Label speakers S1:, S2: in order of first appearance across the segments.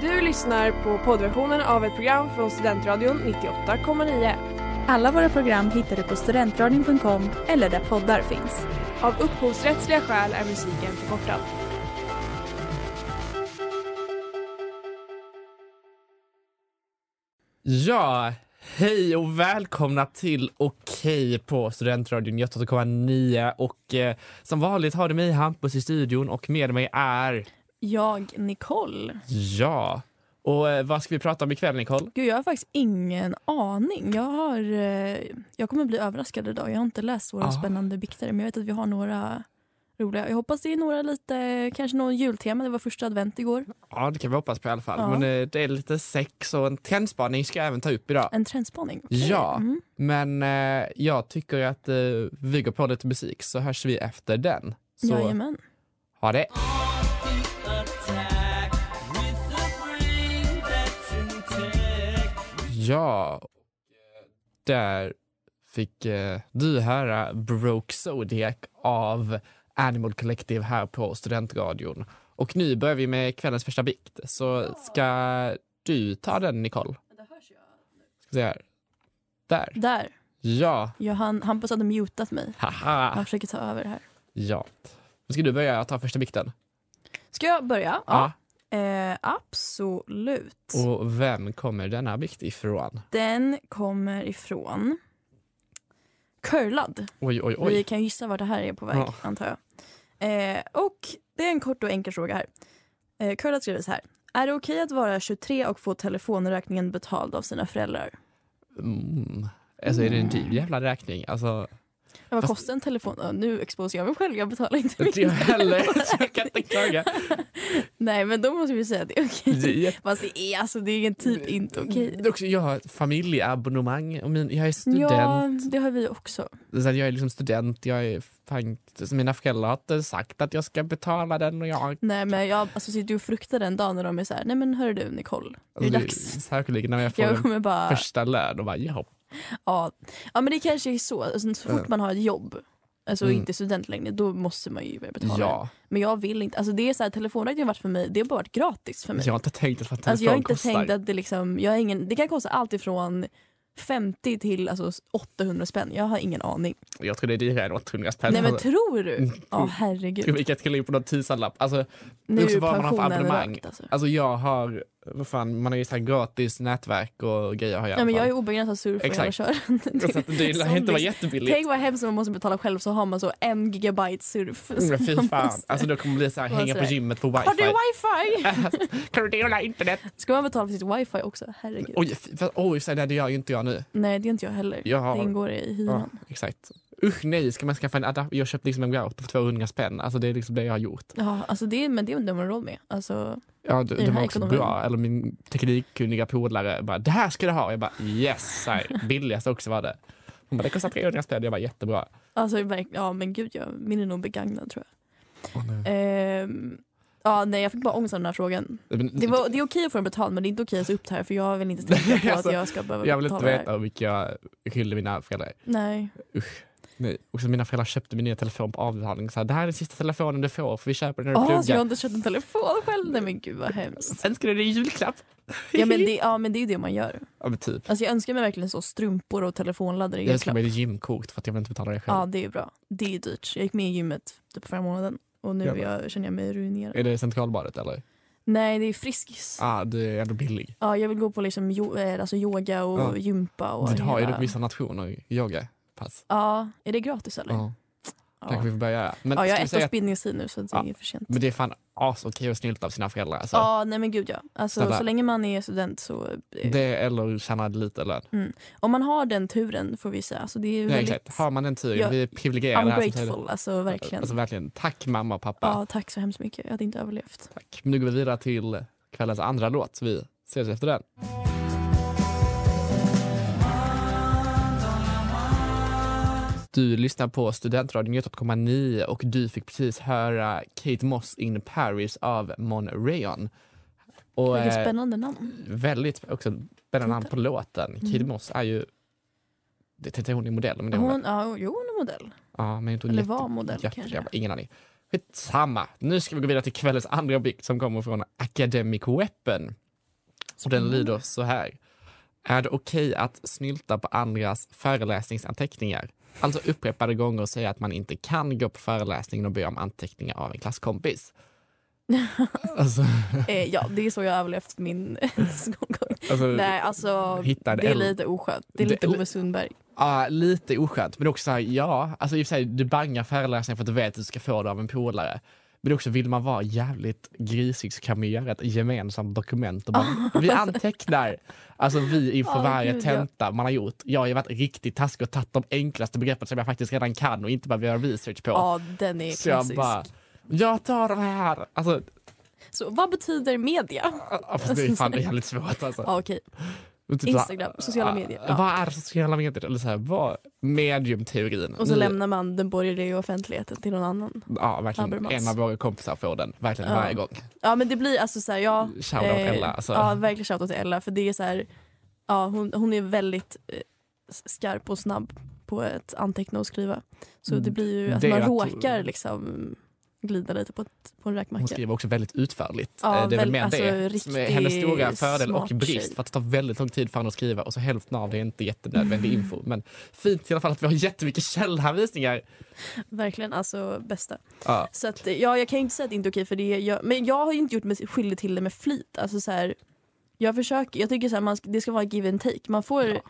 S1: Du lyssnar på poddversionen av ett program från Studentradion 98,9.
S2: Alla våra program hittar du på studentradion.com eller där poddar finns.
S1: Av upphovsrättsliga skäl är musiken förkortad.
S3: Ja, hej och välkomna till Okej på Studentradion 98,9 och eh, som vanligt har du mig Hampus i studion och med mig är
S2: Jag, Nicole.
S3: ja. Och eh, vad ska vi prata om ikväll Nicole?
S2: Gud, jag har faktiskt ingen aning. Jag, har, eh, jag kommer bli överraskad idag. Jag har inte läst våra
S3: Ah.
S2: spännande bikter men jag vet att vi har några roliga. Jag hoppas det är några lite, kanske någon jultema. Det var första advent igår.
S3: Ja, det kan vi hoppas på i alla fall.
S2: Ja.
S3: Men eh, det är lite sex och en trendspaning ska jag även ta upp idag.
S2: En trendspaning. Okej.
S3: Ja,
S2: Mm.
S3: men eh, jag tycker att eh, vi går på lite musik så hörs vi efter den. Så
S2: Jajamän.
S3: ha det! Ja, och eh, där fick eh, du höra Broke Zodiac av Animal Collective här på Studentradion. Och nu börjar vi med kvällens första bikt. Så ska du ta den, Nicole? Ska se här. Där.
S2: Där.
S3: Ja.
S2: Ja, han, Hampus hade mutat mig.
S3: Haha.
S2: Han försöker ta över här.
S3: Ja. Nu ska du börja ta första bikten.
S2: Ska jag börja? Ja. Eh, absolut.
S3: Och vem kommer denna bikt ifrån?
S2: Den kommer ifrån Curlad.
S3: Oj, oj,
S2: Vi
S3: oj.
S2: kan gissa var det här är på väg,
S3: Ja.
S2: antar jag. Eh, och det är en kort och enkel fråga här. Eh, Curlad skriver så här. Är det okej att vara 23 och få telefonräkningen betald av sina föräldrar?
S3: Mm. Alltså är det en dyr jävla räkning? Alltså,
S2: Ja, Vad
S3: Fast-
S2: kostar en telefon? Ja, nu exposerar jag mig själv, jag betalar inte
S3: inte jag
S2: min
S3: heller. så
S2: telefonräkning.
S3: Jag kan inte klaga.
S2: Nej, men då måste vi säga att det är okej.
S3: Det är Mm,
S2: Fast det är, alltså, det är typ inte okej.
S3: Det är också, jag har ett familjeabonnemang. Och min, jag är student.
S2: Ja, det har vi också.
S3: Så att jag är liksom student. Jag är fan, så mina föräldrar har inte sagt att jag ska betala den. Och jag,
S2: Nej, men jag alltså, sitter ju och fruktar den dagen när de är så här, nej men hör du Nicole, det är
S3: Alltså,
S2: dags.
S3: Särskilt när jag får
S2: Jag
S3: den
S2: kommer bara,
S3: första lön och bara ja.
S2: ja. ja men det kanske är så, alltså, så fort
S3: Ja.
S2: man har ett jobb, alltså
S3: Mm.
S2: inte student längre, då måste man ju börja betala.
S3: Ja,
S2: Men jag vill inte, alltså det är så här, telefonräkningen har varit för mig, det har bara varit gratis för mig.
S3: jag har inte tänkt att vad telefon
S2: alltså jag har inte
S3: kostar.
S2: tänkt att det liksom, jag har ingen, det kan kosta allt ifrån 50 till alltså 800 spänn, jag har ingen aning.
S3: Jag tror det är dyrare än 800 spänn.
S2: Nej men tror du? Ja
S3: Tror
S2: herregud.
S3: Mm. vi kan skriva in på någon tusenlapp. Alltså,
S2: Nu
S3: också
S2: är
S3: vad man har för
S2: pensionen
S3: abonnemang.
S2: rökt alltså.
S3: alltså jag har, vad fan, man har ju så här gratis nätverk och grejer har jag
S2: Nej,
S3: i
S2: men
S3: alla
S2: jag är
S3: fall.
S2: obegränsad surf och
S3: Exakt. Alltså,
S2: hela kören.
S3: Så att det lär
S2: Som
S3: inte vara
S2: lyx.
S3: jättebilligt.
S2: Tänk vad hemskt om man måste betala själv så har man så en gigabyte surf.
S3: Mm,
S2: Man
S3: Fy fan.
S2: måste-
S3: Alltså då kommer det bli så här,
S2: Vad
S3: hänga på
S2: sådär.
S3: gymmet på
S2: Har du
S3: wifi.
S2: wifi?
S3: kan du dela internet?
S2: Ska man betala för sitt wifi också? Herregud.
S3: Oj, fy- fast- oj så där, det gör ju inte jag nu.
S2: Nej det är inte jag heller.
S3: Jag har-
S2: Det ingår i
S3: Ja,
S2: hyran.
S3: exakt. Usch nej, ska man skaffa en adapter? Jag köpte liksom en router för 200 spänn. Alltså det är liksom det jag har gjort.
S2: Ja. alltså det, är- men det undrar man råd med. Alltså,
S3: Ja, det,
S2: den
S3: det var
S2: här
S3: också
S2: ekonomin.
S3: bra. Eller min teknikkunniga polare bara, det här ska du ha. Jag bara yes, så här, billigast också var det. Hon bara, det kostar 300 spänn. Jag bara jättebra.
S2: alltså verk- ja men gud jag, min är nog begagnad tror jag.
S3: Åh, nej.
S2: Ehm, ja nej jag fick bara ångest av den här frågan.
S3: Men-
S2: Det, var, det är okej att få den betald men det är inte okej att se upp det här för jag vill inte tänka på
S3: Alltså,
S2: att jag ska behöva
S3: Jag vill inte
S2: betala det här.
S3: veta hur mycket jag skyllde mina föräldrar.
S2: Nej.
S3: Nej. Och så mina föräldrar köpte min nya telefon på avbetalning. Så här, det här är den sista telefonen du får för vi köper den
S2: Ja,
S3: när du
S2: så jag har
S3: pluggar.
S2: inte köpt en telefon själv. Nej men gud vad hemskt.
S3: Önskar du dig i julklapp?
S2: Ja men, det, ja men det är ju det man gör.
S3: Ja, men typ.
S2: Alltså jag önskar mig verkligen så strumpor och telefonladdare i
S3: Jag önskar
S2: julklapp.
S3: mig ett gymkort för att jag vill inte betala det själv.
S2: Ja det är bra. Det är dyrt. Jag gick med i gymmet typ förra månaden och nu
S3: Ja,
S2: är
S3: men-
S2: jag, känner jag mig ruinerad.
S3: Är det Centralbadet eller?
S2: Nej det är Friskis.
S3: Ah, du är ändå billig.
S2: Ja jag vill gå på liksom jo, eh, alltså yoga och
S3: Ja.
S2: gympa och
S3: Du Ah. har ju
S2: hela-
S3: dock vissa nationer yogapass.
S2: Ja, är det gratis eller?
S3: Ja,
S2: Ja.
S3: kanske vi får börja göra. Men,
S2: Ja, jag
S3: ska
S2: har
S3: vi
S2: ett års
S3: säga att,
S2: bindningstid nu så det
S3: Ja.
S2: är för sent.
S3: men det är fan asokej att snylta av sina föräldrar. Alltså.
S2: Ja, nej men gud ja. Alltså,
S3: Snälla.
S2: så länge man är student så... eh,
S3: Det eller tjäna lite lön.
S2: Om man har den turen får vi säga. Alltså, det är ju
S3: Ja,
S2: väldigt...
S3: exakt. Har man den turen,
S2: Jag-
S3: vi är privilegierade.
S2: I'm
S3: här som tiden.
S2: grateful, alltså verkligen.
S3: Alltså, verkligen. Tack mamma och pappa.
S2: Ja, tack så hemskt mycket. Jag hade inte överlevt.
S3: Tack. Nu går vi vidare till kvällens andra låt. Så vi ses efter den. Du lyssnar på Studentradion 98,9 och du fick precis höra Kate Moss in Paris av Mon Rayon. Och
S2: Vilket
S3: eh,
S2: spännande namn.
S3: väldigt också spännande namn på låten. Kate
S2: Mm.
S3: Moss är ju, det tänkte jag hon är modell, men det är hon, väl?
S2: Hon, ja, jo, hon är modell.
S3: Ja, men inte hon
S2: Eller
S3: jätte-
S2: var modell
S3: jätte-
S2: kanske.
S3: jag har Ingen aning. Skitsamma. Nu ska vi gå vidare till kvällens andra objekt som kommer från Academic Weapon. Och den lyder så här. Är det okej att snylta på andras föreläsningsanteckningar? Alltså upprepade gånger säga att man inte kan gå på föreläsningen och be om anteckningar av en klasskompis. alltså,
S2: Eh, ja, det är så jag har överlevt min skolgång.
S3: alltså,
S2: Nej, alltså
S3: hitta en
S2: det är
S3: eld.
S2: lite oskönt. Det är
S3: Det-
S2: lite Ove Sundberg.
S3: Ja, lite oskönt. Men också så här, ja, alltså i och för sig, du bangar föreläsningar för att du vet att du ska få det av en polare. Men också vill man vara jävligt grisig så kan man göra ett gemensamt dokument och bara, vi antecknar. Alltså vi inför
S2: Åh,
S3: varje
S2: gud, ja.
S3: tenta man har gjort. Jag har ju varit riktigt taskig och tagit de enklaste begreppen som jag faktiskt redan kan och inte behöver göra research på.
S2: Ja, den är
S3: så jag
S2: klassisk.
S3: bara, jag tar de här. Alltså,
S2: Så vad betyder media?
S3: ja, fast det är fan jävligt svårt alltså.
S2: Ja, okej.
S3: Och typ så här,
S2: Instagram, sociala medier. Ja.
S3: Vad är sociala medier? Eller så här, vad, mediumteorin.
S2: Och så
S3: Nu-
S2: lämnar man den borgerliga offentligheten till någon annan.
S3: Ja, verkligen.
S2: Habermas.
S3: En av våra kompisar får den. Verkligen
S2: Ja.
S3: varje gång.
S2: Ja men det blir alltså såhär, ja.
S3: Shoutout Ella. Alltså.
S2: Ja verkligen shoutout till Ella för det är såhär, ja hon, hon är väldigt eh, s- skarp och snabb på att anteckna och skriva. Så det blir ju att
S3: Mm. Det är
S2: man
S3: att-
S2: råkar liksom glida lite på, ett, på en
S3: Hon
S2: räkmacka.
S3: skriver också väldigt utförligt.
S2: Ja,
S3: Eh, det är väl
S2: väl-
S3: mer
S2: alltså,
S3: det som är
S2: riktig
S3: hennes stora fördel och
S2: smart
S3: brist.
S2: tjej.
S3: För att det tar väldigt lång tid för henne att skriva och så hälften av det är inte jättenödvändig info.
S2: Mm.
S3: Men fint i alla fall att vi har jättemycket källhänvisningar.
S2: Verkligen alltså bästa.
S3: Ja.
S2: Så att, ja jag kan inte säga att det inte är okej för det är, jag, men jag har ju inte gjort mig skyldig till det med flit. Alltså så här, jag försöker, jag tycker så här, man, ska- det ska vara give and take. Man får
S3: Ja.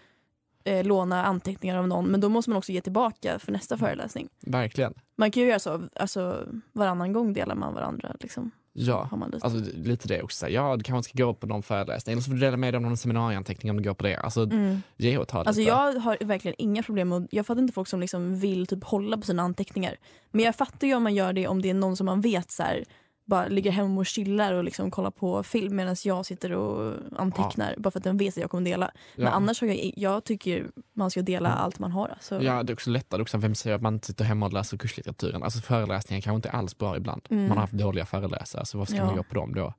S2: eh, låna anteckningar av någon men då måste man också ge tillbaka för
S3: Mm.
S2: nästa föreläsning.
S3: Verkligen.
S2: Man kan ju göra så, alltså varannan gång delar man varandra. Liksom.
S3: Ja.
S2: Har man lite.
S3: Alltså, lite det också. Ja, du kanske ska gå på någon föreläsning. Eller så får du dela med dig av någon seminarieanteckning om du går på det. Alltså,
S2: mm.
S3: ge och ta lite.
S2: alltså jag har verkligen inga problem med, jag fattar inte folk som liksom vill typ hålla på sina anteckningar. Men jag fattar ju om man gör det om det är någon som man vet så här, bara ligger hemma och chillar och liksom kollar på film medan jag sitter och antecknar bara för att den vet att jag kommer dela. Men
S3: Ja. Mm.
S2: annars har jag, jag tycker man ska dela allt man har. Alltså.
S3: Ja, det är också lättare. Också, vem säger att man inte sitter hemma och läser kurslitteraturen? Alltså föreläsningar kanske inte alls bra ibland.
S2: Mm.
S3: Man har haft dåliga föreläsare, så varför ska
S2: Ja.
S3: man gå på dem då?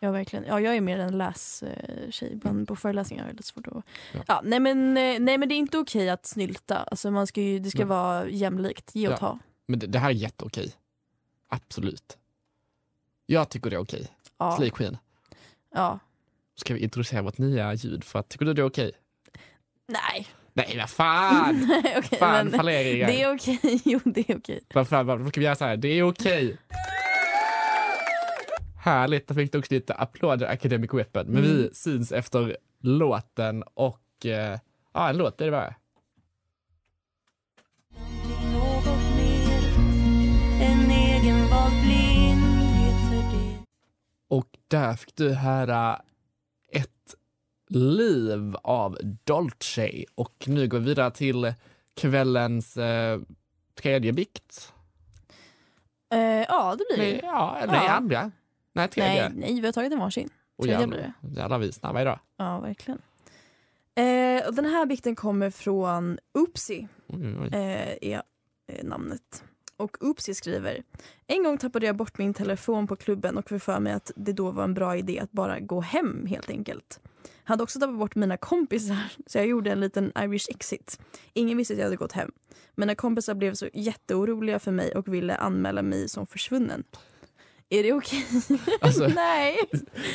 S2: Ja, verkligen. Ja, jag är mer en lästjej. Ibland på föreläsningar är det lite svårt att...
S3: Ja.
S2: Ja. nej, men, eh, nej, men det är inte okej att snylta. Alltså, man ska ju, det ska
S3: Nej.
S2: vara jämlikt. Ge och
S3: Ja.
S2: ta.
S3: Men det, det här är jätteokej. Absolut. Jag tycker det är okej.
S2: Ja.
S3: Slay Queen.
S2: ja.
S3: Ska vi introducera vårt nya ljud för att tycker du det är okej?
S2: Nej.
S3: Nej, vad fan!
S2: nej okej,
S3: fan,
S2: men,
S3: falleringar.
S2: det är okej. Jo, det är okej.
S3: Vad fan, vad- vad ska vi göra så här? Det är okej. Härligt, där fick du också lite applåder, Academic Weapon. Men vi
S4: Mm.
S3: syns efter låten och... eh, Ja, en låt blir det bara.
S4: Någonting, något mer En egenvald blindhet för det
S3: Och där fick du höra ett liv av Dolce. Och nu går vi vidare till kvällens eh, tredje bikt.
S2: Eh, ja, det blir
S3: Nej,
S2: det.
S3: ja, eller
S2: Ja.
S3: andra. Nej, tredje.
S2: Nej, nej, vi har tagit en varsin.
S3: Och
S2: tredje
S3: jävlar,
S2: blir
S3: jävlar vi är snabba idag.
S2: Ja, verkligen. Eh, och den här bikten kommer från Oopsie.
S3: Oj, oj.
S2: eh, är eh, namnet. Och Oopsie skriver En gång tappade jag bort min telefon på klubben och fick för mig att det då var en bra idé att bara gå hem helt enkelt. Hade också tappat bort mina kompisar så jag gjorde en liten Irish exit. Ingen visste att jag hade gått hem. Mina kompisar blev så jätteoroliga för mig och ville anmäla mig som försvunnen. Är det okej?
S3: Alltså,
S2: Nej,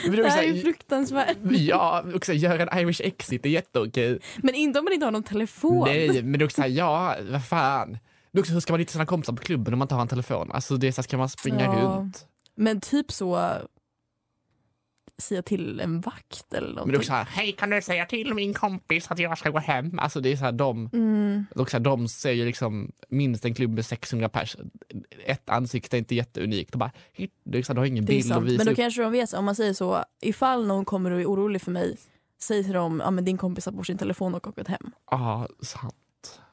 S3: men det
S2: det
S3: är
S2: här
S3: också
S2: är
S3: så här,
S2: fruktansvärt.
S3: Ja, också gör en Irish exit, det är jätteokej.
S2: Men inte om man inte har någon telefon.
S3: Nej, men det är också så här, ja, vad fan. Men också, hur ska man hitta sina kompisar på klubben om man inte har en telefon? Alltså, det är så här, ska man springa
S2: Ja.
S3: runt?
S2: Men typ så säga till en vakt eller
S3: Men det är
S2: någonting.
S3: också så här, hej kan du säga till min kompis att jag ska gå hem? Alltså det är så här, de,
S2: Mm.
S3: det är också så här, de ser ju liksom minst en klubb med 600 pers. Ett ansikte är inte jätteunikt. Och bara, hit- det är så här, du har ingen
S2: Det är
S3: bild att
S2: sant.
S3: visa
S2: Men då
S3: upp.
S2: kanske de vet, så, om man säger så, ifall någon kommer och är orolig för mig, säg till dem, ja men din kompis har bort sin telefon och åkt hem.
S3: Ja, Ah, sant.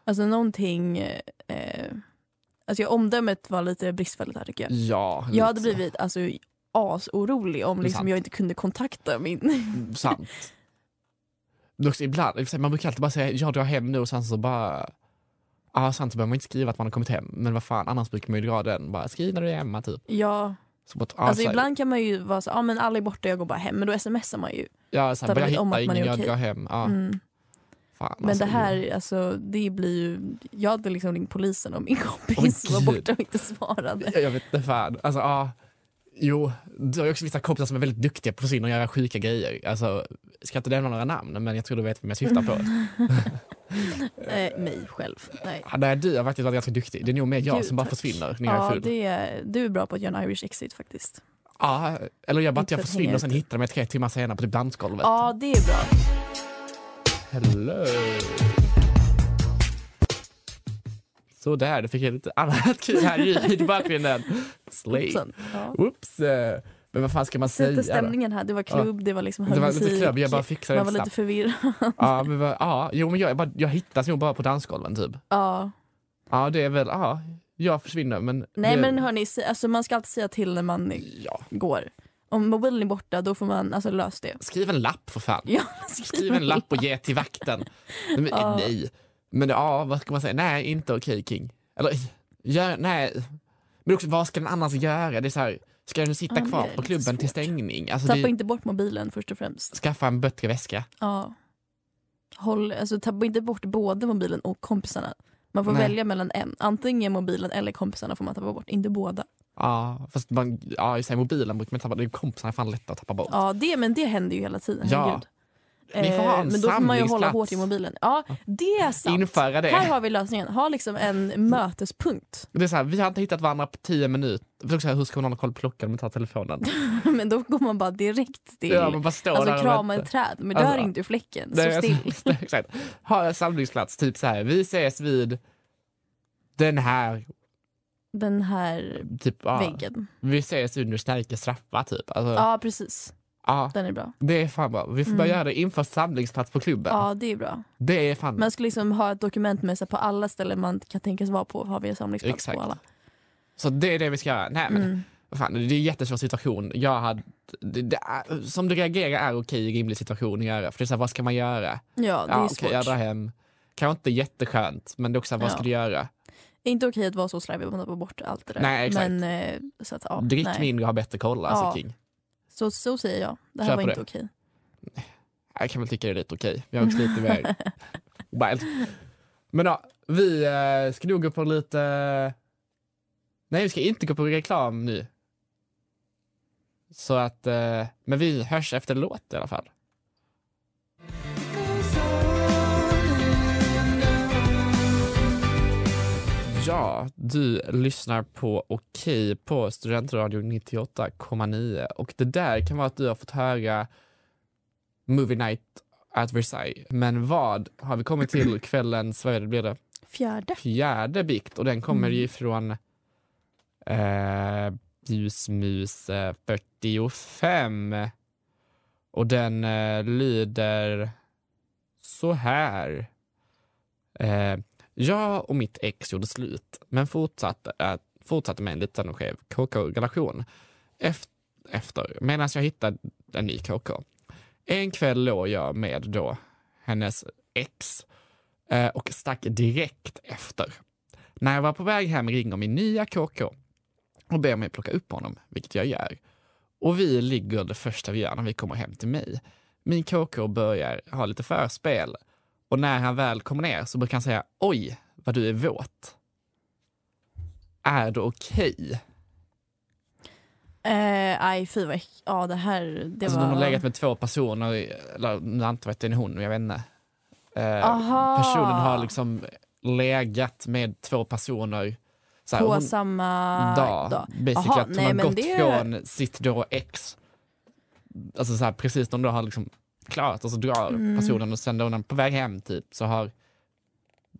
S2: Alltså någonting, eh, eh, alltså jag, omdömet var lite bristfälligt här tycker jag.
S3: Ja,
S2: Jag hade
S3: lite
S2: blivit alltså asorolig om
S3: är
S2: liksom,
S3: sant.
S2: jag inte kunde kontakta min...
S3: Sant. Men också ibland, i och för sig, man brukar alltid bara säga jag drar hem nu och sen så bara Ja, sant så behöver man inte skriva att man har kommit hem. Men vad fan, annars brukar man ju dra den. Bara skriv när du är hemma typ.
S2: Ja,
S3: Så bara, ja,
S2: alltså
S3: så här-
S2: ibland kan man ju vara så, ja men alla är borta jag går bara hem, men då smsar man ju.
S3: Ja, så
S2: talar
S3: här, bara, jag
S2: lite om
S3: hittar
S2: att man är
S3: ingen, jag
S2: okej.
S3: drar hem. Ja,
S2: Mm.
S3: fan,
S2: Men
S3: alltså,
S2: det här, alltså, det blir ju... Jag hade liksom ringt polisen om min
S3: Åh,
S2: kompis var
S3: gud.
S2: borta och inte svarade.
S3: Jag, jag vet inte fan. Alltså, ja. Jo, du har ju också vissa kompisar som är väldigt duktiga på att få in och göra sjuka grejer. Alltså, jag ska inte nämna några namn, men jag tror du vet vem jag syftar på.
S2: Mm. Eh, mig själv. Nej.
S3: Ja, Nej, du har faktiskt varit ganska duktig. Det är nog mer jag
S2: Gud,
S3: som bara
S2: tack.
S3: försvinner när jag är
S2: Ja,
S3: full.
S2: det är, du är bra på att göra en Irish exit faktiskt.
S3: Ja, eller jag bara att jag
S2: Inte att
S3: försvinner
S2: hänga
S3: och sen
S2: ute.
S3: hittar de mig tre timmar senare på typ dansgolvet.
S2: Ja, det är bra.
S3: Hello! Så där, då fick jag lite annat kul här i i bakgrunden. Slay.
S2: Sen, ja.
S3: Oops! eh, Men vad fan ska man
S2: Sätta
S3: säga? då?
S2: stämningen här. Det var klubb, det var liksom hög
S3: Det var lite
S2: musik,
S3: klubb, jag bara fixade
S2: Man var
S3: det
S2: lite
S3: snabbt.
S2: förvirrad.
S3: Ja, men, vad- ja, jo, men jag, jag, bara, jag hittas nog bara på dansgolven typ.
S2: Ja.
S3: Ja, det är väl, ja, jag försvinner men...
S2: Nej
S3: det,
S2: men hörni, se- alltså, man ska alltid säga till när man eh,
S3: Ja.
S2: går. Om mobilen är borta då får man alltså lösa det.
S3: Skriv en lapp för fan.
S2: Ja,
S3: Skriv en lapp och ge till vakten. Nej, Men,
S2: Ja.
S3: nej. men ja, vad ska man säga? Nej, inte okej King. Eller, gör, nej. Men också, vad ska den annars göra? Det är så här, ska den sitta
S2: Ja, det
S3: kvar
S2: är
S3: på
S2: lite
S3: klubben till
S2: svårt.
S3: stängning? Alltså,
S2: Tappa
S3: det,
S2: inte bort mobilen först och främst.
S3: Skaffa en bättre väska.
S2: Ja. Håll, alltså, tappa inte bort både mobilen och kompisarna. Man får
S3: Nej.
S2: välja mellan en. Antingen mobilen eller kompisarna får man tappa bort, inte båda.
S3: Ja, fast man, ja, i sig mobilen brukar man tappa, det är kompisarna är fan lätta att tappa bort.
S2: Ja, det, men det händer ju hela tiden.
S3: Ja.
S2: Herregud. Eh,
S3: Ni får ha en
S2: men då får man ju hålla
S3: samlingsplats.
S2: hårt i mobilen. Ja, det är sant.
S3: Införa det.
S2: Här har vi lösningen. Ha liksom en mötespunkt.
S3: Det är så här, vi har inte hittat varandra på tio minuter. Det är också så här, Hur ska man ha koll på klockan om man tar telefonen?
S2: Men då går man bara direkt till...
S3: Ja, man bara står där
S2: alltså
S3: och
S2: krama
S3: väntar.
S2: ett träd, men
S3: Alltså,
S2: rör inte ur fläcken.
S3: Nej,
S2: Stå
S3: alltså,
S2: still.
S3: exakt. Ha en samlingsplats, typ så här. Vi ses vid den här
S2: Den här
S3: typ, ja.
S2: väggen.
S3: Vi ses under Snärkes trappa typ. Alltså, ja.
S2: Ja, precis. Den är bra.
S3: det är fan bra. Vi får börja göra det inför samlingsplats på klubben.
S2: Ja, det är bra.
S3: Det är fan...
S2: Man ska liksom ha ett dokument med sig på alla ställen man kan tänkas vara på. Har vi en samlingsplats
S3: Exakt.
S2: på alla.
S3: Så det är det vi ska göra. Nej, men,
S2: Mm.
S3: vad fan, det är en jättesvår situation. Jag hade, det, det är, som du reagerar är okej i rimlig situation att göra. För det är så här, vad ska man göra?
S2: Ja, det
S3: Ja,
S2: är
S3: okej, jag
S2: svårt.
S3: drar hem. Kanske inte jätteskönt, men det är också så här, vad
S2: Ja.
S3: ska du göra?
S2: Inte okej att vara så slarvig att man tappar bort allt det där.
S3: Nej, exakt.
S2: Men, eh, så att, ja,
S3: Drick
S2: nej.
S3: mindre och ha bättre koll alltså
S2: Ja.
S3: King.
S2: Så, så säger jag. Det här
S3: Kör
S2: var
S3: på
S2: inte
S3: det.
S2: okej.
S3: Jag kan väl tycka det är lite okej. Jag är också lite mer wild. Men ja, vi eh, ska nog gå på lite... Nej, vi ska inte gå på reklam nu. Så att... Eh, men vi hörs efter låt i alla fall. Ja, du lyssnar på Okej på Studentradion 98,9 och det där kan vara att du har fått höra Movie Night at Versailles. Men vad har vi kommit till kvällens, vad är det, blir det?
S2: Fjärde.
S3: Fjärde bikt och den kommer ju från eh, Ljusmus eh, 45. Och den eh, lyder så här. Eh, jag och mitt ex gjorde slut, men fortsatte, att fortsatte med en liten och skev KK-relation efter, efter medan jag hittade en ny KK. En kväll låg jag med då hennes ex eh, och stack direkt efter. När jag var på väg hem ringer min nya KK och ber mig plocka upp honom, vilket jag gör. Och vi ligger det första vi gör när vi kommer hem till mig. Min KK börjar ha lite förspel och när han väl kommer ner så brukar han säga oj vad du är våt. Är det okej?
S2: Eh, aj, fy vad äck- Ja, det här... Det
S3: Alltså
S2: var...
S3: de har legat med två personer, i- eller nu antar jag att det är en hon, men jag vet inte. Eh,
S2: Aha.
S3: personen har liksom legat med två personer. Så här,
S2: På
S3: hon,
S2: samma
S3: dag.
S2: dag.
S3: Basically
S2: Aha,
S3: att hon
S2: nej,
S3: har
S2: men
S3: gått
S2: det-
S3: från sitt då ex, alltså så här, precis när de då har liksom klarat och så drar
S2: Mm.
S3: personen och sen då när de är på väg hem typ så har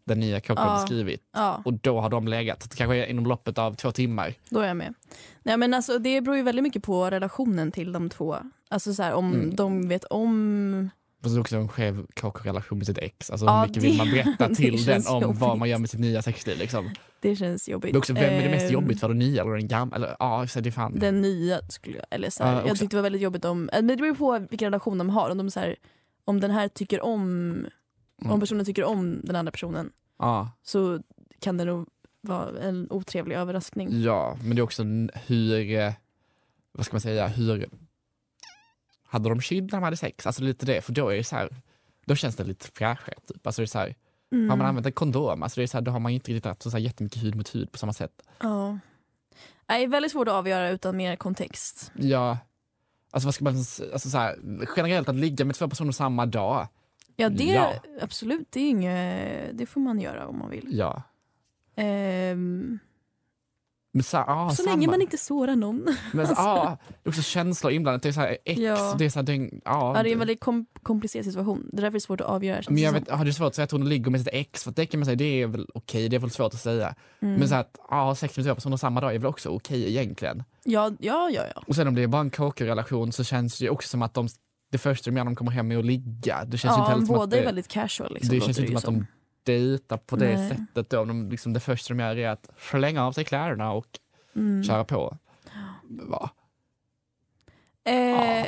S3: den nya kocken
S2: Ja.
S3: skrivit
S2: Ja,
S3: och då har de legat, Så det kanske är inom loppet av två timmar.
S2: då är jag med. Nej, men alltså, det beror ju väldigt mycket på relationen till de två. Alltså så här, om
S3: Mm.
S2: de vet om...
S3: Och så också en skev KK-relation med sitt ex. Alltså
S2: Ja,
S3: hur mycket
S2: det-
S3: vill man berätta
S2: det
S3: till den
S2: känns
S3: om vad
S2: jobbigt.
S3: man gör med sitt nya sexliv liksom.
S2: Det känns jobbigt.
S3: Men också vem är det mest
S2: Ehm,
S3: jobbigt för, den nya eller den gamla? Eller ja, så det är fan.
S2: Den nya skulle jag... Eller så här,
S3: Ja,
S2: jag
S3: Ah, också.
S2: tyckte det var väldigt jobbigt om... eh, Men det beror ju på vilken relation de har. Om, de så här, om den här tycker om...
S3: Mm.
S2: Om personen tycker om den andra personen
S3: Ja.
S2: så kan det nog vara en otrevlig överraskning.
S3: Ja, men det är också n- hur, eh, vad ska man säga, hur hade de kydd när de hade sex? Alltså lite det, för då är det så här, då känns det lite fräschare typ. Alltså det är så här,
S2: Mm.
S3: har man använt en kondom, alltså det är så här, då har man inte riktigt haft så här jättemycket hud mot hud på samma sätt.
S2: Ja. Nej, väldigt svårt att avgöra utan mer kontext.
S3: Ja, alltså vad ska man s- alltså så här, generellt att ligga med två personer samma dag.
S2: Ja, det
S3: Ja.
S2: absolut, det, är inget, det får man göra om man vill.
S3: Ja,
S2: Ehm,
S3: men så, här, ah,
S2: så
S3: samma.
S2: länge man inte sårar någon.
S3: Men så, ah, det är också känslor inblandat. Det är så här ex,
S2: Ja.
S3: det är så här, det är en- ah,
S2: Ja, det är en väldigt kom- komplicerad situation. Det är därför det är svårt att avgöra. känns
S3: Men jag
S2: det
S3: vet, ah, det är svårt att säga att hon ligger med sitt ex för att det kan man säga, det är väl okej, det är väl svårt att säga.
S2: som. Mm.
S3: Men så här att ah, ha sex med två personer samma dag är väl också okej egentligen.
S2: ja, ja, ja, ja.
S3: Och sen om det är bara en kåkig relation så känns det ju också som att de, det första de gör när de kommer hem är att ligga. Det känns ju inte
S2: ja
S3: heller som att
S2: båda
S3: det,
S2: är väldigt casual. Liksom,
S3: det
S2: låter
S3: känns ju inte
S2: ju
S3: som att de dejtar på det
S2: Nej.
S3: sättet då. Om de, liksom, det första de gör är att slänga av sig kläderna och
S2: Mm.
S3: köra på. Va?
S2: Eh,
S3: Ah.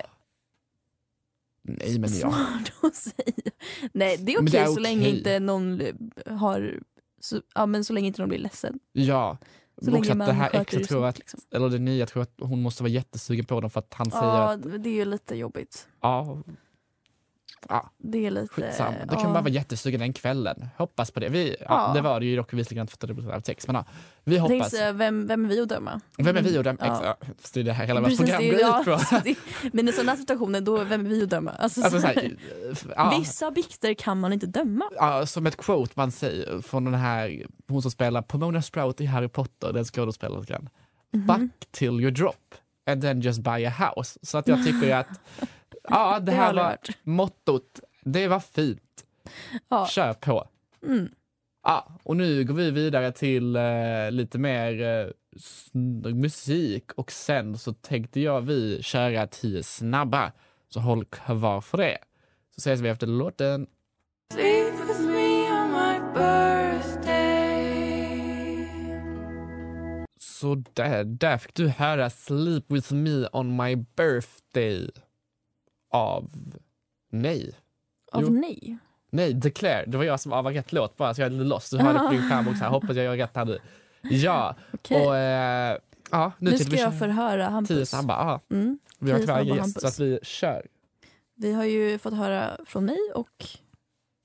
S3: Nej men ja.
S2: Svårt att säga. Nej, det är
S3: Men det
S2: okej
S3: är
S2: så länge
S3: okej.
S2: inte någon har... Så, ja, men så länge inte någon blir ledsen.
S3: ja.
S2: Så
S3: Men också
S2: länge
S3: att det här
S2: sköter
S3: exet
S2: det
S3: tror
S2: snyggt,
S3: att,
S2: liksom.
S3: eller det nya tror att hon måste vara jättesugen på dem för att han säger att
S2: Ja, det är ju lite jobbigt.
S3: ja,
S2: Det är lite...
S3: skitsamma. Då
S2: Eh, ja.
S3: kan man bara vara jättesugen den kvällen. Hoppas på det. Vi, ja,
S2: Ja.
S3: Det var det ju dock visserligen inte för att det blev sex men ja, vi
S2: Tänk
S3: hoppas.
S2: så här, vem, vem är vi att döma?
S3: Vem är vi och dem?
S2: Ja.
S3: Ja. Fast det är det här hela vårt
S2: Precis,
S3: program
S2: det är-
S3: går
S2: ja,
S3: ut på.
S2: så det- Men i sådana situationer, då, vem är vi att döma? Alltså,
S3: Alltså,
S2: så
S3: så
S2: här,
S3: här, ja,
S2: Vissa bikter kan man inte döma.
S3: ja, som ett quote man säger från den här, hon som spelar Pomona Sprout i Harry Potter, den skådespelerskan.
S2: Mhm.
S3: Back till you drop and then just buy a house. Så att jag tycker ju att ja, det
S2: Det har
S3: här
S2: aldrig
S3: var
S2: varit.
S3: mottot. Det var fint.
S2: Ja.
S3: Kör på.
S2: Mm.
S3: Ja, Ah, och nu går vi vidare till eh, lite mer eh, sn- musik och sen så tänkte jag vi köra tio snabba. Så håll kvar för det. Så ses vi efter låten.
S4: Sleep with me on my birthday.
S3: Så där, där fick du höra Sleep with me on my birthday av... Nej.
S2: Av
S3: Jo.
S2: nej.
S3: Nej, Declare. Det var jag som var rätt låt bara, så jag är lite lost. Du hörde på din skärm också. här. Hoppas jag gör rätt här nu. Ja,
S2: Okej.
S3: och... Eh, ja, nu,
S2: Nu
S3: till
S2: ska
S3: vi
S2: jag
S3: kör
S2: förhöra
S3: Tio
S2: Hampus.
S3: snabba. Ah. Ja,
S2: Mm.
S3: vi har
S2: Tio
S3: tyvärr
S2: snabba,
S3: ingen
S2: Hampus.
S3: gäst, så att vi kör.
S2: Vi har ju fått höra från mig och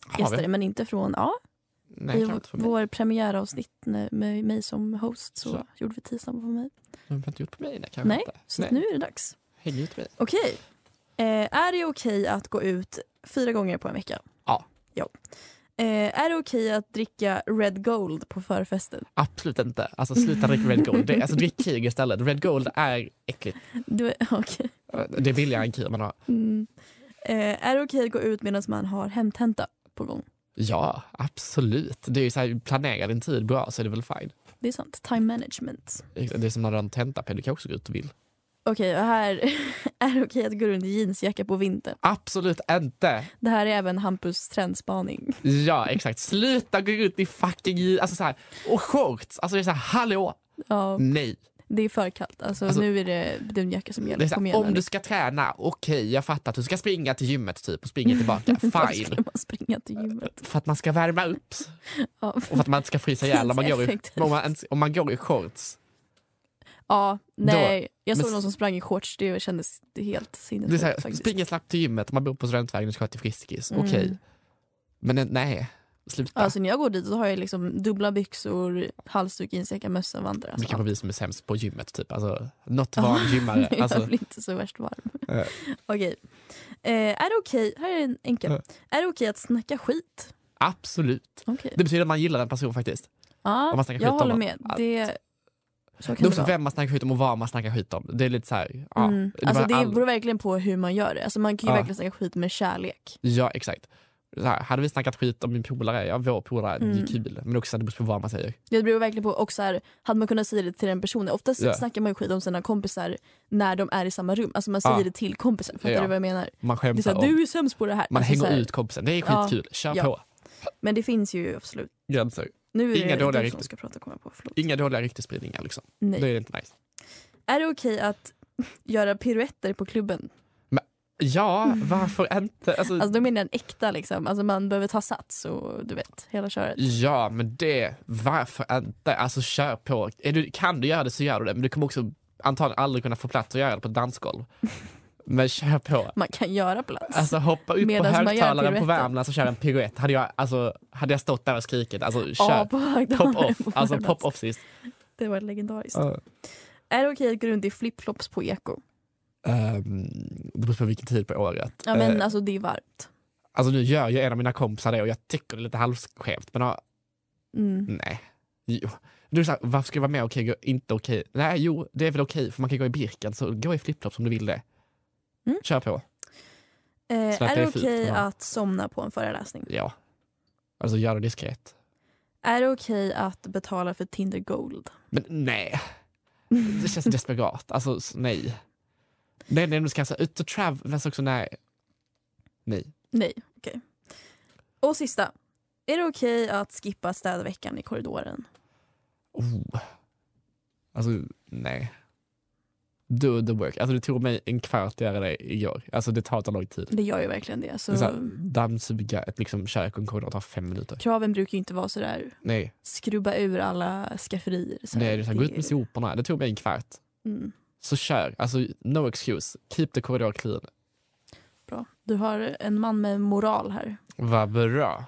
S3: Har vi?
S2: gäster, men inte från... Ja,
S3: Nej,
S2: I
S3: klart inte för mig.
S2: vår premiäravsnitt när- med mig som host så,
S3: Så.
S2: gjorde vi tio snabba på mig.
S3: De har inte gjort på mig. Nej, kanske
S2: Nej,
S3: inte.
S2: så
S3: Nej.
S2: nu är det dags.
S3: Häng ut mig.
S2: Okej. Eh, är det okej att gå ut fyra gånger på en vecka?
S3: Ja.
S2: ja. Eh, är det okej att dricka Red Gold på förfesten?
S3: Absolut inte. Alltså sluta dricka Red Gold. Det, alltså drick Kir istället. Red Gold är äckligt.
S2: Du, okej.
S3: Det är billigare än Kir man har.
S2: mm. eh, är det okej att gå ut medan man har hemtenta på gång?
S3: Ja, absolut. Det är ju så här, planera din tid bra så är det väl fine.
S2: Det är sant. Time management.
S3: Det är som när du har en tentapel, du kan också gå ut och vill.
S2: Okej, och här är det okej att gå runt i jeansjacka på vintern.
S3: Absolut inte!
S2: Det här är även Hampus trendspaning.
S3: Ja, exakt. Sluta gå ut i fucking jeans. Alltså så här, och shorts. Alltså det är så här, hallå!
S2: Ja.
S3: Nej.
S2: Det är för kallt. Alltså,
S3: Alltså-
S2: nu är det dunjacka som
S3: Det
S2: gäller.
S3: är så
S2: Kom
S3: här,
S2: igen,
S3: om
S2: Alice.
S3: du ska träna, okej, jag fattar att du ska springa till gymmet typ och springa tillbaka.
S2: Varför
S3: Fine.
S2: skulle man springa till gymmet?
S3: För att man ska värma upp
S2: Ja,
S3: och för att man inte ska frysa ihjäl om man går i,
S2: Tidseffektivt.
S3: om man, ens- om man går i shorts.
S2: ja nej. Jag såg
S3: Men-
S2: någon som sprang i shorts. Det kändes helt
S3: Det är så
S2: sinnessjukt
S3: här,
S2: faktiskt.
S3: springa slappt till gymmet om man bor på Studentvägen och ska till Friskis. Okej.
S2: Mm.
S3: Men eh, nej, sluta.
S2: Alltså när jag går dit så har jag liksom dubbla byxor, halsduk, jeansjacka, mössa, vantar.
S3: det är
S2: Alltså,
S3: kanske vi som är sämst på gymmet. Typ. Alltså, något var en gymmare.
S2: jag
S3: Alltså,
S2: blir inte så värst varm.
S3: Eh.
S2: Okej. Eh, är det okej, här är en enkel.
S3: Eh.
S2: Är det okej att snacka skit?
S3: absolut.
S2: Okej.
S3: Det betyder att man gillar en person faktiskt.
S2: Ja,
S3: om man snackar skit
S2: jag
S3: om
S2: håller
S3: någon.
S2: med.
S3: Att-
S2: Det, så
S3: Det är
S2: kan det,
S3: också
S2: vara.
S3: vem man snackar skit om och vad man snackar skit om. Det är lite så här, ja,
S2: Mm.
S3: det
S2: alltså,
S3: var
S2: det
S3: all-
S2: beror verkligen på hur man gör det. Alltså, man kan ju
S3: Ja.
S2: verkligen snacka skit med kärlek.
S3: ja exakt. Så här, hade vi snackat skit om min polare, ja vår polare, det
S2: Mm.
S3: är kul. Men också det beror på vad man säger.
S2: Det beror verkligen på, och så här, hade man kunnat säga det till den personen, oftast
S3: Ja.
S2: snackar man ju skit om sina kompisar när de är i samma rum, alltså man
S3: Ja.
S2: säger det till kompisar, fattar
S3: Ah. Ja.
S2: du vad jag menar? Det är
S3: Man skämtar
S2: så här,
S3: om,
S2: du är sämst på det här.
S3: man
S2: alltså, så
S3: hänger
S2: här,
S3: ut kompisen. Det är
S2: Ja.
S3: skitkul, kör
S2: Ja.
S3: på.
S2: Men det finns ju absolut.
S3: Gränser.
S2: Nu är det
S3: Inga dåliga
S2: du som
S3: rykten.
S2: ska prata kommer jag på, förlåt.
S3: Inga dåliga ryktesspridningar liksom.
S2: Nej.
S3: Det är inte nice.
S2: Är det okej att göra piruetter på klubben?
S3: Ja, varför inte? Alltså,
S2: Mm. Alltså då menar jag en äkta liksom, alltså man behöver ta sats och du vet, hela köret.
S3: Ja, men det, varför inte? Alltså kör på. Är du, kan du göra det så gör du det, men du kommer också antagligen aldrig kunna få plats att göra det på ett dansgolv. Men kör på.
S2: Man kan göra plats.
S3: Alltså hoppa upp
S2: Medan
S3: på
S2: man gör
S3: högtalaren på
S2: piruetten.
S3: Värmland och köra en piruett. Hade jag, alltså, hade jag stått där och skrikit, alltså
S2: Ja,
S3: kör.
S2: på högtalaren
S3: Pop off,
S2: på
S3: alltså
S2: Värmlands.
S3: pop off sist.
S2: Det var legendariskt. Är det okej att gå runt i flipflops på eko?
S3: Ehm, det beror på vilken tid på året.
S2: Ja men
S3: Eh,
S2: alltså det är varmt.
S3: alltså nu gör ju en av mina kompisar det och jag tycker det är lite halvskevt. Men ja,
S2: Mm.
S3: nej. Jo. Du är så här, varför ska jag vara med? Okej, gå- inte okej. Nej, jo, det är väl okej för man kan gå i Birken så gå i flipflops om du vill det.
S2: Mm.
S3: Kör på.
S2: Eh,
S3: Så att
S2: är
S3: det
S2: det
S3: är fult,
S2: okej
S3: ja.
S2: att somna på en föreläsning?
S3: Ja. Alltså gör det diskret.
S2: Är det okej att betala för Tinder Gold?
S3: Men nej. Det känns desperat. Alltså s- nej. Nej, nej, du ska alltså ut och travel. också nej. Nej.
S2: Nej, okej. Och sista. Är det okej att skippa städveckan i korridoren?
S3: Oh. Alltså, nej. Do the work. Alltså det tog mig en kvart att göra det igår. Alltså det tar inte lång tid.
S2: Det gör ju verkligen det.
S3: Det är Så... här,
S2: Så
S3: dammsuga ett liksom, kök och en korridor tar fem minuter.
S2: kraven brukar ju inte vara så där
S3: Nej,
S2: skrubba ur alla skafferier. Så
S3: nej
S2: här.
S3: det är så här, gå ut med soporna. Det tog mig en kvart.
S2: mm,
S3: Så kör. Alltså no excuse. Keep the corridor clean.
S2: bra. Du har en man med moral här.
S3: Vad bra.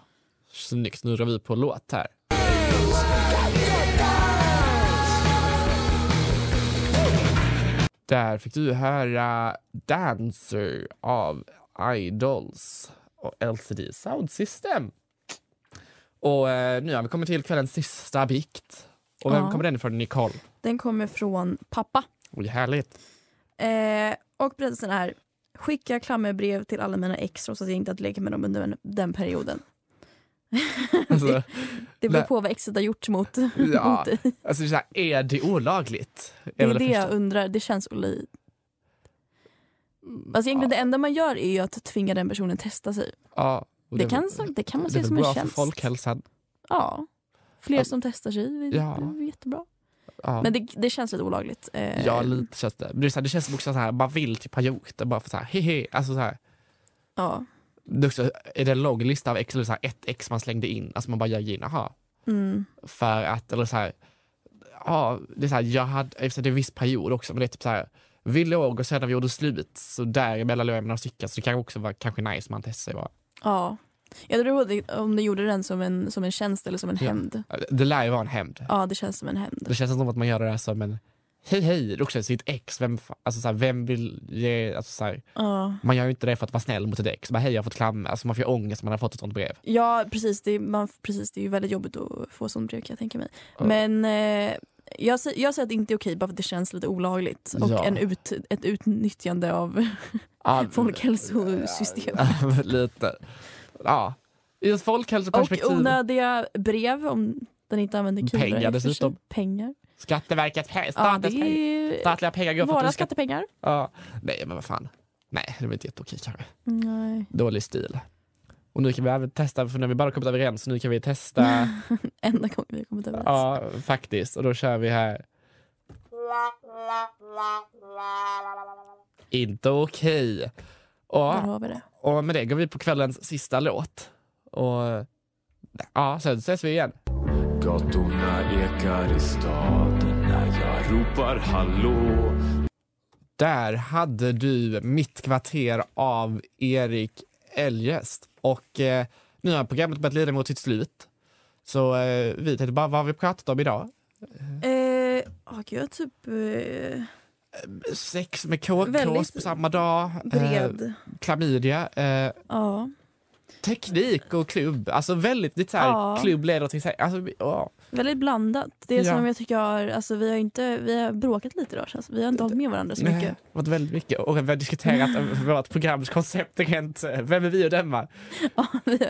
S3: Snyggt. Nu drar vi på låt här. Där fick du höra Dancer av Idols och LCD Sound System. Och eh, nu har vi kommit till kvällens sista bikt. Och vem
S2: Ja.
S3: kommer den ifrån? Nicole.
S2: Den kommer från pappa.
S3: Oj, härligt.
S2: Eh, och berättelsen är Skicka klammerbrev till alla mina ex och så att jag inte att leka med dem under den- den perioden.
S3: Alltså,
S2: Det beror
S3: Nej.
S2: på vad exet har gjort mot,
S3: Ja.
S2: mot dig.
S3: alltså, det är så här, är det olagligt?
S2: Det är
S3: väl
S2: det
S3: första.
S2: jag undrar. Det känns olidligt.
S3: Mm,
S2: Alltså egentligen det enda man gör är ju att tvinga den personen testa sig.
S3: Ja, och
S2: Det,
S3: är
S2: kan,
S3: väl-
S2: så- det kan man
S3: det är
S2: se
S3: väl
S2: som en
S3: bra för
S2: tjänst.
S3: folkhälsan.
S2: Ja. Fler
S3: Att-
S2: som testar sig det är
S3: Ja.
S2: det är jättebra.
S3: Ja.
S2: Men det, det känns lite olagligt. Eh,
S3: Ja, lite känns det. Men det, är så här, det känns som också så här, man vill typ ha gjort det bara för så här, hehe. Alltså så här,
S2: ja.
S3: det är, också, är det en lång lista av ex, eller så här, ett ex man slängde in, alltså man bara gör in, aha.
S2: Mm.
S3: För att, eller så här, ja, det är så här, jag hade, efter det är en viss period också, men det är typ så här, vi låg och sen när vi gjorde slut, så däremellan låg jag med några stycken, så det kanske också var kanske nice man testar sig bara.
S2: ja. Jag tror att det- om du gjorde den som en, som en tjänst eller som en
S3: Ja.
S2: hämnd.
S3: Det lär ju vara en hämnd.
S2: Ja, det känns som en hämnd.
S3: Det känns som att man gör det här som en, hej hej, det är också sitt ex, vem, fa- alltså så här, vem vill ge, alltså så här,
S2: Ja.
S3: Man gör ju inte det för att vara snäll mot ett ex. Bara, Hej, jag har fått klamma. Alltså, man får ju ångest om man har fått ett sånt brev.
S2: Ja, precis det, är- man, precis. det är ju väldigt jobbigt att få sånt brev kan jag tänka mig.
S3: Ja.
S2: Men eh, jag, sä- jag säger att det inte är okej bara för att det känns lite olagligt. Och
S3: Ja.
S2: en ut, ett utnyttjande av
S3: Ja,
S2: folkhälsosystemet.
S3: ja, lite. Ja. I ett
S2: Och
S3: folkhälsoperspektiv.
S2: onödiga brev om den inte använder kulor.
S3: Pengar
S2: i och för sig.
S3: dessutom.
S2: Pengar.
S3: Skatteverkets pengar.
S2: Ja,
S3: Statens
S2: det
S3: pengar.
S2: är
S3: Statliga pengar går för att
S2: våra
S3: du ska...
S2: skattepengar.
S3: Ja. Nej, men vad fan. Nej, det var inte jätteokej kanske.
S2: Nej.
S3: Dålig stil. Och nu kan vi även testa, för nu har vi bara kommit överens, nu kan vi testa.
S2: Enda gången vi har kommit överens.
S3: ja, faktiskt. Och då kör vi här. Inte okej.
S2: Där
S3: Och
S2: har vi det.
S3: Och med det går vi på kvällens sista låt. Och ja, sen ses vi igen.
S5: Gatorna ekar i staden när jag ropar hallå
S3: Där hade du Mitt kvarter av Erik Eljest. Och eh, nu har programmet börjat lida mot sitt slut. Så eh, vi tänkte bara, vad har vi pratat om idag?
S2: Eh, åh, gud, jag är typ eh,
S3: Sex med KKs
S2: Väldigt
S3: på samma dag. eh,
S2: bred.
S3: klamydia. Eh,
S2: ja.
S3: teknik och klubb. Alltså väldigt, lite så här,
S2: Ja.
S3: klubb leder till... så här- Alltså, ja.
S2: Väldigt blandat. Det är
S3: Ja.
S2: som jag tycker har, alltså, vi har inte, vi har bråkat lite idag känns det. Vi har inte hållit med varandra så
S3: Nej,
S2: mycket.
S3: det har varit väldigt mycket. Och vi har diskuterat vårt programs koncept. Rent, eh, vem är vi att döma?
S2: Ja, vi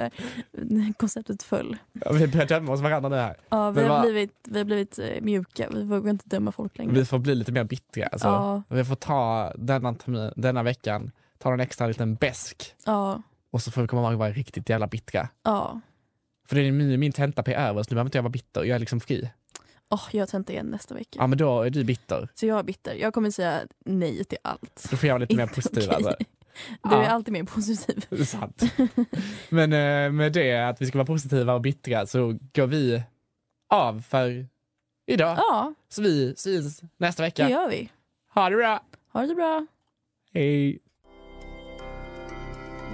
S2: har, konceptet föll.
S3: Ja, Vi börjar döma oss varandra nu här.
S2: Ja, vi,
S3: Men
S2: har
S3: vad-
S2: blivit, vi har blivit eh, mjuka. Vi vågar inte döma folk längre.
S3: Vi får bli lite mer bittra. Alltså.
S2: Ja.
S3: Vi får ta denna, termin, denna veckan, ta en extra liten besk
S2: Ja,
S3: och så får vi komma ihåg att vara riktigt jävla bittra.
S2: ja.
S3: För det är min, min tenta på över så nu behöver inte jag vara bitter. Jag är liksom fri.
S2: Åh, jag tänkte igen nästa vecka.
S3: Ja men då är du bitter.
S2: Så jag är bitter. Jag kommer säga nej till allt.
S3: Då får jag vara lite mer
S2: Inte
S3: positiv.
S2: okej.
S3: Alltså.
S2: Du är
S3: Ja.
S2: alltid mer positiv.
S3: Det är sant. Men eh, med det att vi ska vara positiva och bittra så går vi av för idag.
S2: Ja,
S3: Så vi syns nästa
S2: det
S3: vecka.
S2: gör vi.
S3: Ha det bra!
S2: Ha det så bra.
S3: Hej!